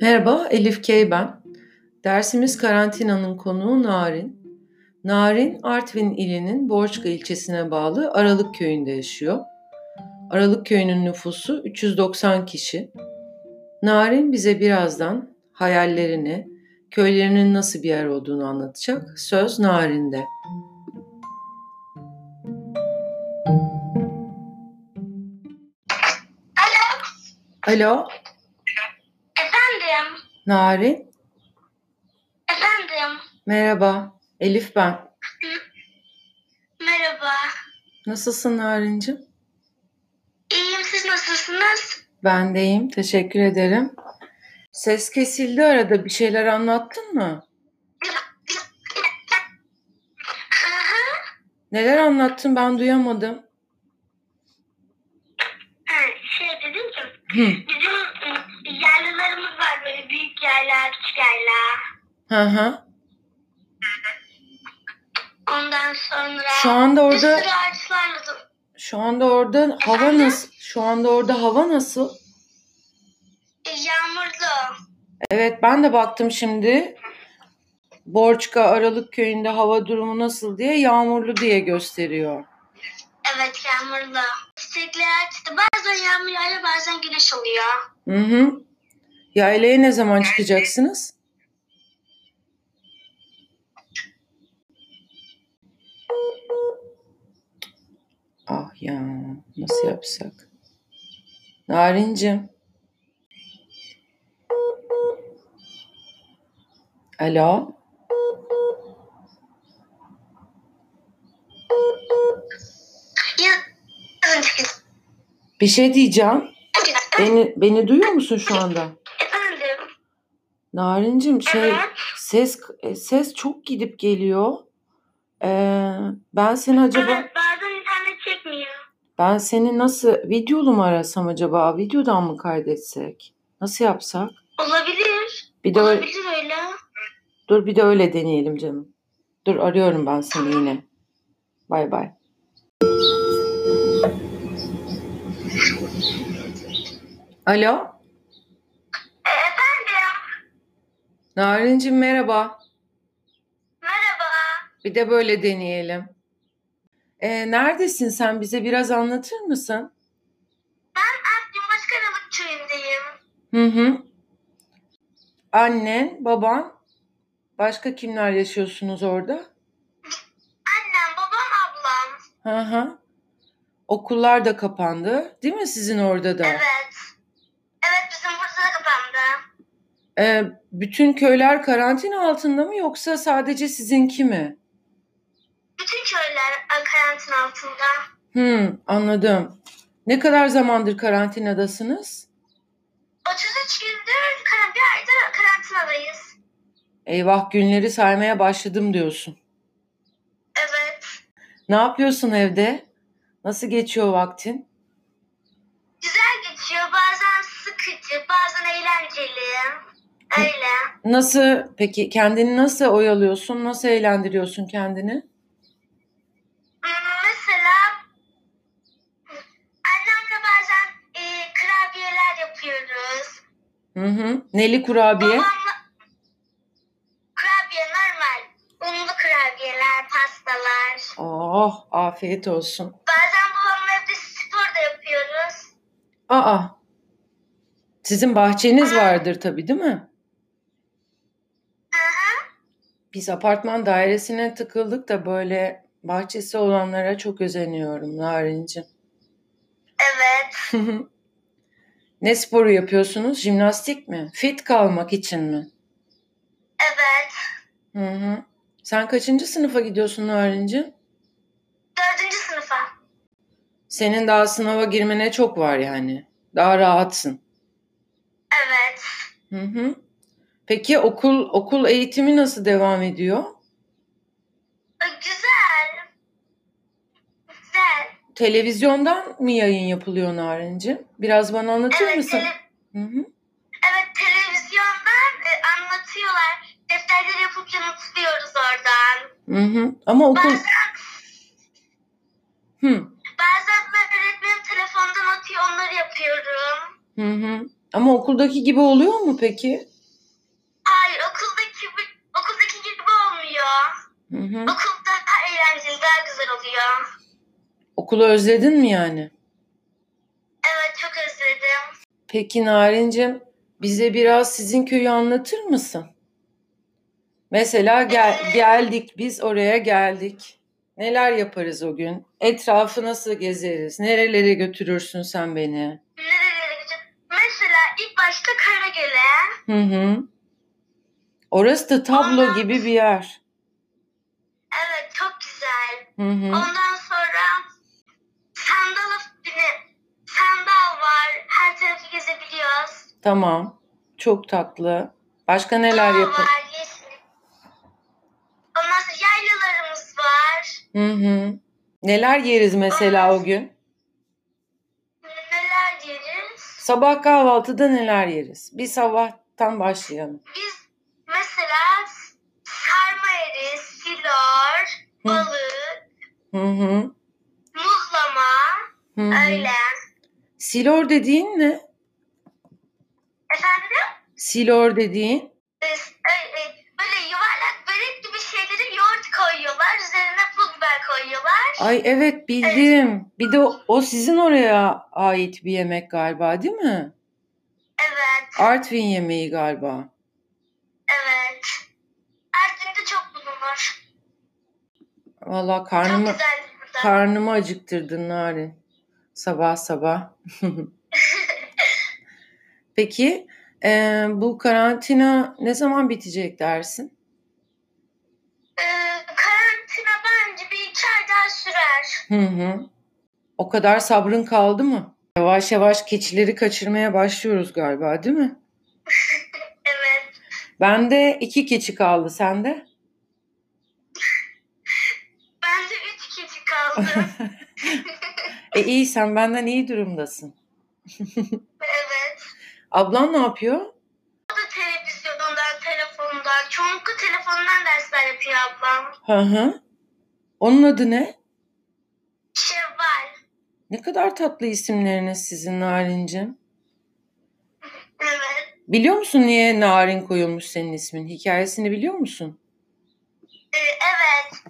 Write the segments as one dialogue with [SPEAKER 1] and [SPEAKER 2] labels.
[SPEAKER 1] Merhaba, Elif Kay ben. Dersimiz karantinanın konuğu Narin. Narin, Artvin ilinin Borçka ilçesine bağlı Aralık köyünde yaşıyor. Aralık köyünün nüfusu 390 kişi. Narin bize birazdan hayallerini, köylerinin nasıl bir yer olduğunu anlatacak. Söz Narin'de. Alo,
[SPEAKER 2] Efendim,
[SPEAKER 1] Narin.
[SPEAKER 2] efendim.
[SPEAKER 1] Merhaba, Elif ben.
[SPEAKER 2] Merhaba.
[SPEAKER 1] Nasılsın Narin'cim?
[SPEAKER 2] İyiyim, siz nasılsınız?
[SPEAKER 1] Ben deyim. Teşekkür ederim. Ses kesildi arada. Bir şeyler anlattın mı?
[SPEAKER 2] Hı hı.
[SPEAKER 1] Neler anlattın ben duyamadım.
[SPEAKER 2] Ha, Şey dedim ki,
[SPEAKER 1] Hı.
[SPEAKER 2] bizim ı, yerlilerimiz var böyle büyük yerler, küçük yerler.
[SPEAKER 1] Hı hı.
[SPEAKER 2] Ondan sonra
[SPEAKER 1] Şu anda
[SPEAKER 2] bir
[SPEAKER 1] orada
[SPEAKER 2] sürü ağaçlarla do-
[SPEAKER 1] şu anda orada hava nasıl? Şu anda orada hava nasıl?
[SPEAKER 2] E, yağmurlu.
[SPEAKER 1] Evet ben de baktım şimdi. Borçka Aralık köyünde hava durumu nasıl diye yağmurlu diye gösteriyor.
[SPEAKER 2] Evet yağmurlu. Çiçekler açtı. Bazen yağmur yağıyor, bazen güneş oluyor.
[SPEAKER 1] Hı hı. Yaylaya ne zaman çıkacaksınız? Ah ya nasıl yapsak? Narincim. Alo.
[SPEAKER 2] Ya- Yazın çıkıyor.
[SPEAKER 1] Bir şey diyeceğim. Beni, beni duyuyor musun şu anda?
[SPEAKER 2] Efendim.
[SPEAKER 1] Narincim şey
[SPEAKER 2] Evet.
[SPEAKER 1] ses e, ses çok gidip geliyor. Ee, ben seni acaba
[SPEAKER 2] Evet, bazen internet çekmiyor.
[SPEAKER 1] ben seni nasıl videolu mu arasam acaba? Videodan mı kaydetsek? Nasıl yapsak?
[SPEAKER 2] Olabilir.
[SPEAKER 1] Bir de öyle-
[SPEAKER 2] Olabilir öyle.
[SPEAKER 1] dur bir de öyle deneyelim canım. Dur arıyorum ben seni yine. Bay bay. Alo.
[SPEAKER 2] E, Efendim.
[SPEAKER 1] Narincim merhaba.
[SPEAKER 2] Merhaba.
[SPEAKER 1] Bir de böyle deneyelim. Ee, neredesin sen? Bize biraz anlatır mısın?
[SPEAKER 2] Cumhurbaşkanlık köyündeyim.
[SPEAKER 1] Hı hı. Annen, baban, başka kimler yaşıyorsunuz orada?
[SPEAKER 2] Annem, babam, ablam.
[SPEAKER 1] Hı hı. Okullar da kapandı, değil mi sizin orada da?
[SPEAKER 2] Evet. Evet bizim burada kapandı.
[SPEAKER 1] Ee, bütün köyler karantina altında mı yoksa sadece sizinki mi?
[SPEAKER 2] Bütün köyler e, karantina altında.
[SPEAKER 1] Hı, anladım. Ne kadar zamandır karantinadasınız?
[SPEAKER 2] 33 gündür kar- bir aydır karantinadayız.
[SPEAKER 1] Eyvah günleri saymaya başladım diyorsun.
[SPEAKER 2] Evet.
[SPEAKER 1] Ne yapıyorsun evde? Nasıl geçiyor vaktin?
[SPEAKER 2] Güzel geçiyor. Bazen sıkıcı, bazen eğlenceli. Öyle.
[SPEAKER 1] Nasıl peki kendini nasıl oyalıyorsun? Nasıl eğlendiriyorsun kendini?
[SPEAKER 2] Hmm, Mesela annemle bazen e, kurabiyeler yapıyoruz.
[SPEAKER 1] Hı hı. Neli kurabiye.
[SPEAKER 2] Babamla kurabiye normal. Unlu kurabiyeler, pastalar.
[SPEAKER 1] Oh, afiyet olsun.
[SPEAKER 2] Bazen babamla evde spor da yapıyoruz.
[SPEAKER 1] Aa. Sizin bahçeniz vardır tabii değil mi? Biz apartman dairesine tıkıldık da böyle bahçesi olanlara çok özeniyorum Narin'cim.
[SPEAKER 2] Evet.
[SPEAKER 1] ne sporu yapıyorsunuz? Jimnastik mi? Fit kalmak için mi?
[SPEAKER 2] Evet.
[SPEAKER 1] Hı hı. Sen kaçıncı sınıfa gidiyorsun Narin'cim?
[SPEAKER 2] Dördüncü sınıfa.
[SPEAKER 1] Senin daha sınava girmene çok var yani. Daha rahatsın.
[SPEAKER 2] Evet.
[SPEAKER 1] Hı hı. Peki okul okul eğitimi nasıl devam ediyor?
[SPEAKER 2] E, Güzel. Güzel.
[SPEAKER 1] Televizyondan mı yayın yapılıyor Narinci? Biraz bana anlatır
[SPEAKER 2] Evet,
[SPEAKER 1] mısın?
[SPEAKER 2] tele-
[SPEAKER 1] Hı hı.
[SPEAKER 2] evet televizyondan e, anlatıyorlar. Defterleri yapıp yanıtlıyoruz oradan.
[SPEAKER 1] Hı hı. Ama okul
[SPEAKER 2] Bazen,
[SPEAKER 1] hı.
[SPEAKER 2] bazen ben öğretmenim telefondan atıyor onları yapıyorum.
[SPEAKER 1] Hı hı. Ama okuldaki gibi oluyor mu peki? Hı hı.
[SPEAKER 2] Okul daha eğlenceli, daha güzel oluyor.
[SPEAKER 1] Okulu özledin mi yani?
[SPEAKER 2] Evet çok özledim.
[SPEAKER 1] Peki Narincim, bize biraz sizin köyü anlatır mısın? Mesela
[SPEAKER 2] Ee-
[SPEAKER 1] gel, geldik biz oraya geldik. Neler yaparız o gün? Etrafı nasıl gezeriz? Nerelere götürürsün sen beni?
[SPEAKER 2] Nerelere gideceğim? Mesela ilk başta Karagöl'e.
[SPEAKER 1] Hı hı. Orası da tablo gibi bir yer.
[SPEAKER 2] Evet çok güzel.
[SPEAKER 1] Hı hı.
[SPEAKER 2] Ondan sonra sandal bine sandal var. Her tarafı gezebiliyoruz.
[SPEAKER 1] Tamam. Çok tatlı. Başka neler
[SPEAKER 2] Dağ
[SPEAKER 1] yapar?
[SPEAKER 2] var, yeşil. Ondan sonra yaylalarımız var.
[SPEAKER 1] Hı hı. Neler yeriz mesela o gün?
[SPEAKER 2] Neler yeriz?
[SPEAKER 1] Sabah kahvaltıda neler yeriz? Bir sabahtan başlayalım.
[SPEAKER 2] Biz mesela sarma yeriz, silor,
[SPEAKER 1] Hı.
[SPEAKER 2] balık,
[SPEAKER 1] Hı hı.
[SPEAKER 2] muhlama,
[SPEAKER 1] Hı hı.
[SPEAKER 2] öyle.
[SPEAKER 1] Silor dediğin ne?
[SPEAKER 2] Efendim?
[SPEAKER 1] Silor dediğin.
[SPEAKER 2] Biz, e, e, böyle yuvarlak börek gibi şeylere yoğurt koyuyorlar. Üzerine pul biber koyuyorlar.
[SPEAKER 1] Ay evet bildim. Bir de o, o sizin oraya ait bir yemek galiba değil mi?
[SPEAKER 2] Evet,
[SPEAKER 1] Artvin yemeği galiba.
[SPEAKER 2] evet. Artvin'de çok bulunur.
[SPEAKER 1] Valla
[SPEAKER 2] Çok
[SPEAKER 1] karnımı
[SPEAKER 2] güzel burada.
[SPEAKER 1] karnımı acıktırdın Narin. Sabah sabah. Peki eee, bu karantina ne zaman bitecek dersin?
[SPEAKER 2] Ee, karantina bence bir iki ay daha sürer.
[SPEAKER 1] Hı hı. O kadar sabrın kaldı mı? Yavaş yavaş keçileri kaçırmaya başlıyoruz galiba değil mi?
[SPEAKER 2] Evet.
[SPEAKER 1] Bende iki keçi kaldı sende.
[SPEAKER 2] Ben de üç kedi kaldım.
[SPEAKER 1] E iyi sen benden iyi durumdasın.
[SPEAKER 2] evet.
[SPEAKER 1] Ablan ne yapıyor?
[SPEAKER 2] O da televizyondan, telefondan, çoğunlukla telefondan dersler yapıyor ablam.
[SPEAKER 1] Hı hı. Onun adı ne?
[SPEAKER 2] Şevval.
[SPEAKER 1] Ne kadar tatlı isimleriniz sizin Narin'cim.
[SPEAKER 2] Evet.
[SPEAKER 1] Biliyor musun niye Narin koyulmuş senin ismin? Hikayesini biliyor musun?
[SPEAKER 2] Ee, evet.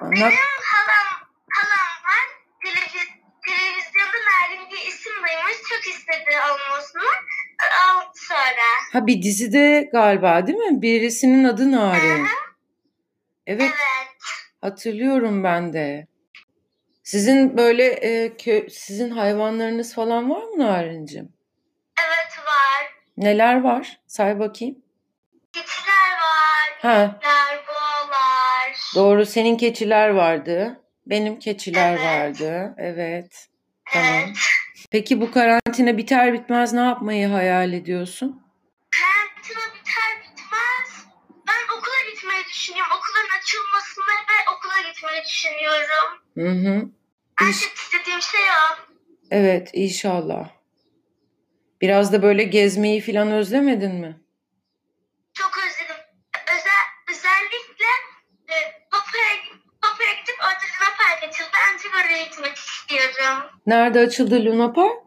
[SPEAKER 1] Anlat.
[SPEAKER 2] Halam, halam var. Televiz- televizyonda Narin diye isim duymuş. Çok istedi olmasını. Aldı sonra.
[SPEAKER 1] Ha bir dizide galiba değil mi? Birisinin adı Narin. Evet
[SPEAKER 2] Evet.
[SPEAKER 1] hatırlıyorum ben de. Sizin böyle e, kö- sizin hayvanlarınız falan var mı Narin'cim?
[SPEAKER 2] Evet var.
[SPEAKER 1] Neler var? Say bakayım.
[SPEAKER 2] Keçiler var.
[SPEAKER 1] Ha
[SPEAKER 2] Keçiler, boğalar.
[SPEAKER 1] Doğru senin keçiler vardı. Benim keçiler
[SPEAKER 2] Evet.
[SPEAKER 1] vardı. Evet. Tamam.
[SPEAKER 2] Evet.
[SPEAKER 1] Peki bu karantina biter bitmez ne yapmayı hayal ediyorsun?
[SPEAKER 2] Karantina biter bitmez. Ben okula gitmeyi düşünüyorum. Okulların açılmasını ve okula gitmeyi düşünüyorum.
[SPEAKER 1] Hı hı.
[SPEAKER 2] En
[SPEAKER 1] İş-
[SPEAKER 2] çok istediğim şey o.
[SPEAKER 1] Evet inşallah. Biraz da böyle gezmeyi falan özlemedin mi?
[SPEAKER 2] Çok özledim. Özel, özellikle e, Papa'ya Papa'ya gidip orada Luna Park açıldı. Bence oraya gitmek istiyorum.
[SPEAKER 1] Nerede açıldı Luna Park?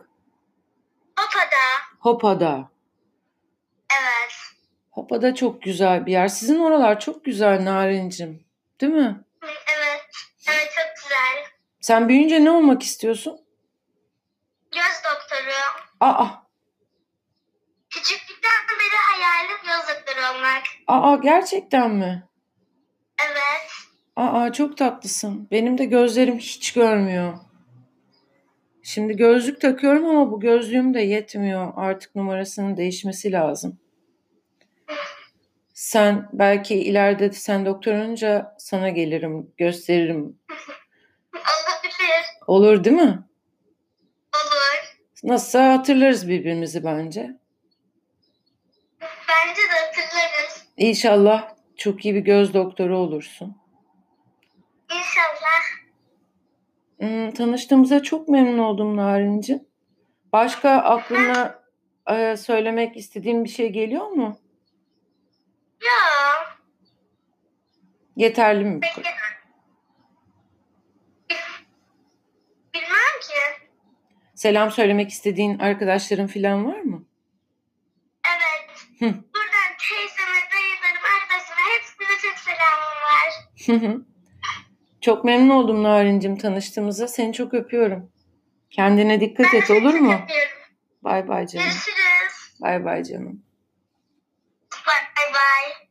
[SPEAKER 2] Papa'da.
[SPEAKER 1] Hopa'da.
[SPEAKER 2] Evet.
[SPEAKER 1] Hopa'da çok güzel bir yer. Sizin oralar çok güzel Narincim. Değil mi?
[SPEAKER 2] Hı, Evet. Evet çok güzel.
[SPEAKER 1] Sen büyüyünce ne olmak istiyorsun?
[SPEAKER 2] Göz doktoru.
[SPEAKER 1] Aa,
[SPEAKER 2] Küçüklükten beri hayalim göz doktoru olmak.
[SPEAKER 1] aa gerçekten mi?
[SPEAKER 2] Evet.
[SPEAKER 1] Aa çok tatlısın. Benim de gözlerim hiç görmüyor. Şimdi gözlük takıyorum ama bu gözlüğüm de yetmiyor. Artık numarasının değişmesi lazım. Sen belki ileride sen doktor olunca sana gelirim, gösteririm.
[SPEAKER 2] Olabilir.
[SPEAKER 1] Olur değil mi?
[SPEAKER 2] Olur.
[SPEAKER 1] Nasılsa hatırlarız birbirimizi bence.
[SPEAKER 2] Bence de hatırlarız.
[SPEAKER 1] İnşallah çok iyi bir göz doktoru olursun.
[SPEAKER 2] İnşallah.
[SPEAKER 1] Hmm, tanıştığımıza çok memnun oldum Narinci. Başka aklına e, söylemek istediğin bir şey geliyor mu?
[SPEAKER 2] Ya.
[SPEAKER 1] Yeterli mi? bu kadar?
[SPEAKER 2] Peki. Bilmem ki.
[SPEAKER 1] Selam söylemek istediğin arkadaşların falan var mı?
[SPEAKER 2] Evet.
[SPEAKER 1] Hı.
[SPEAKER 2] Buradan teyzeme, dayılarım, arkadaşıma hepsine çok selamım var.
[SPEAKER 1] Hı hı. çok memnun oldum Narin'cim tanıştığımıza. Seni çok öpüyorum. Kendine dikkat et olur mu?
[SPEAKER 2] Öpüyorum.
[SPEAKER 1] Bay bay canım.
[SPEAKER 2] Görüşürüz.
[SPEAKER 1] Bay bay canım.
[SPEAKER 2] Bye bye.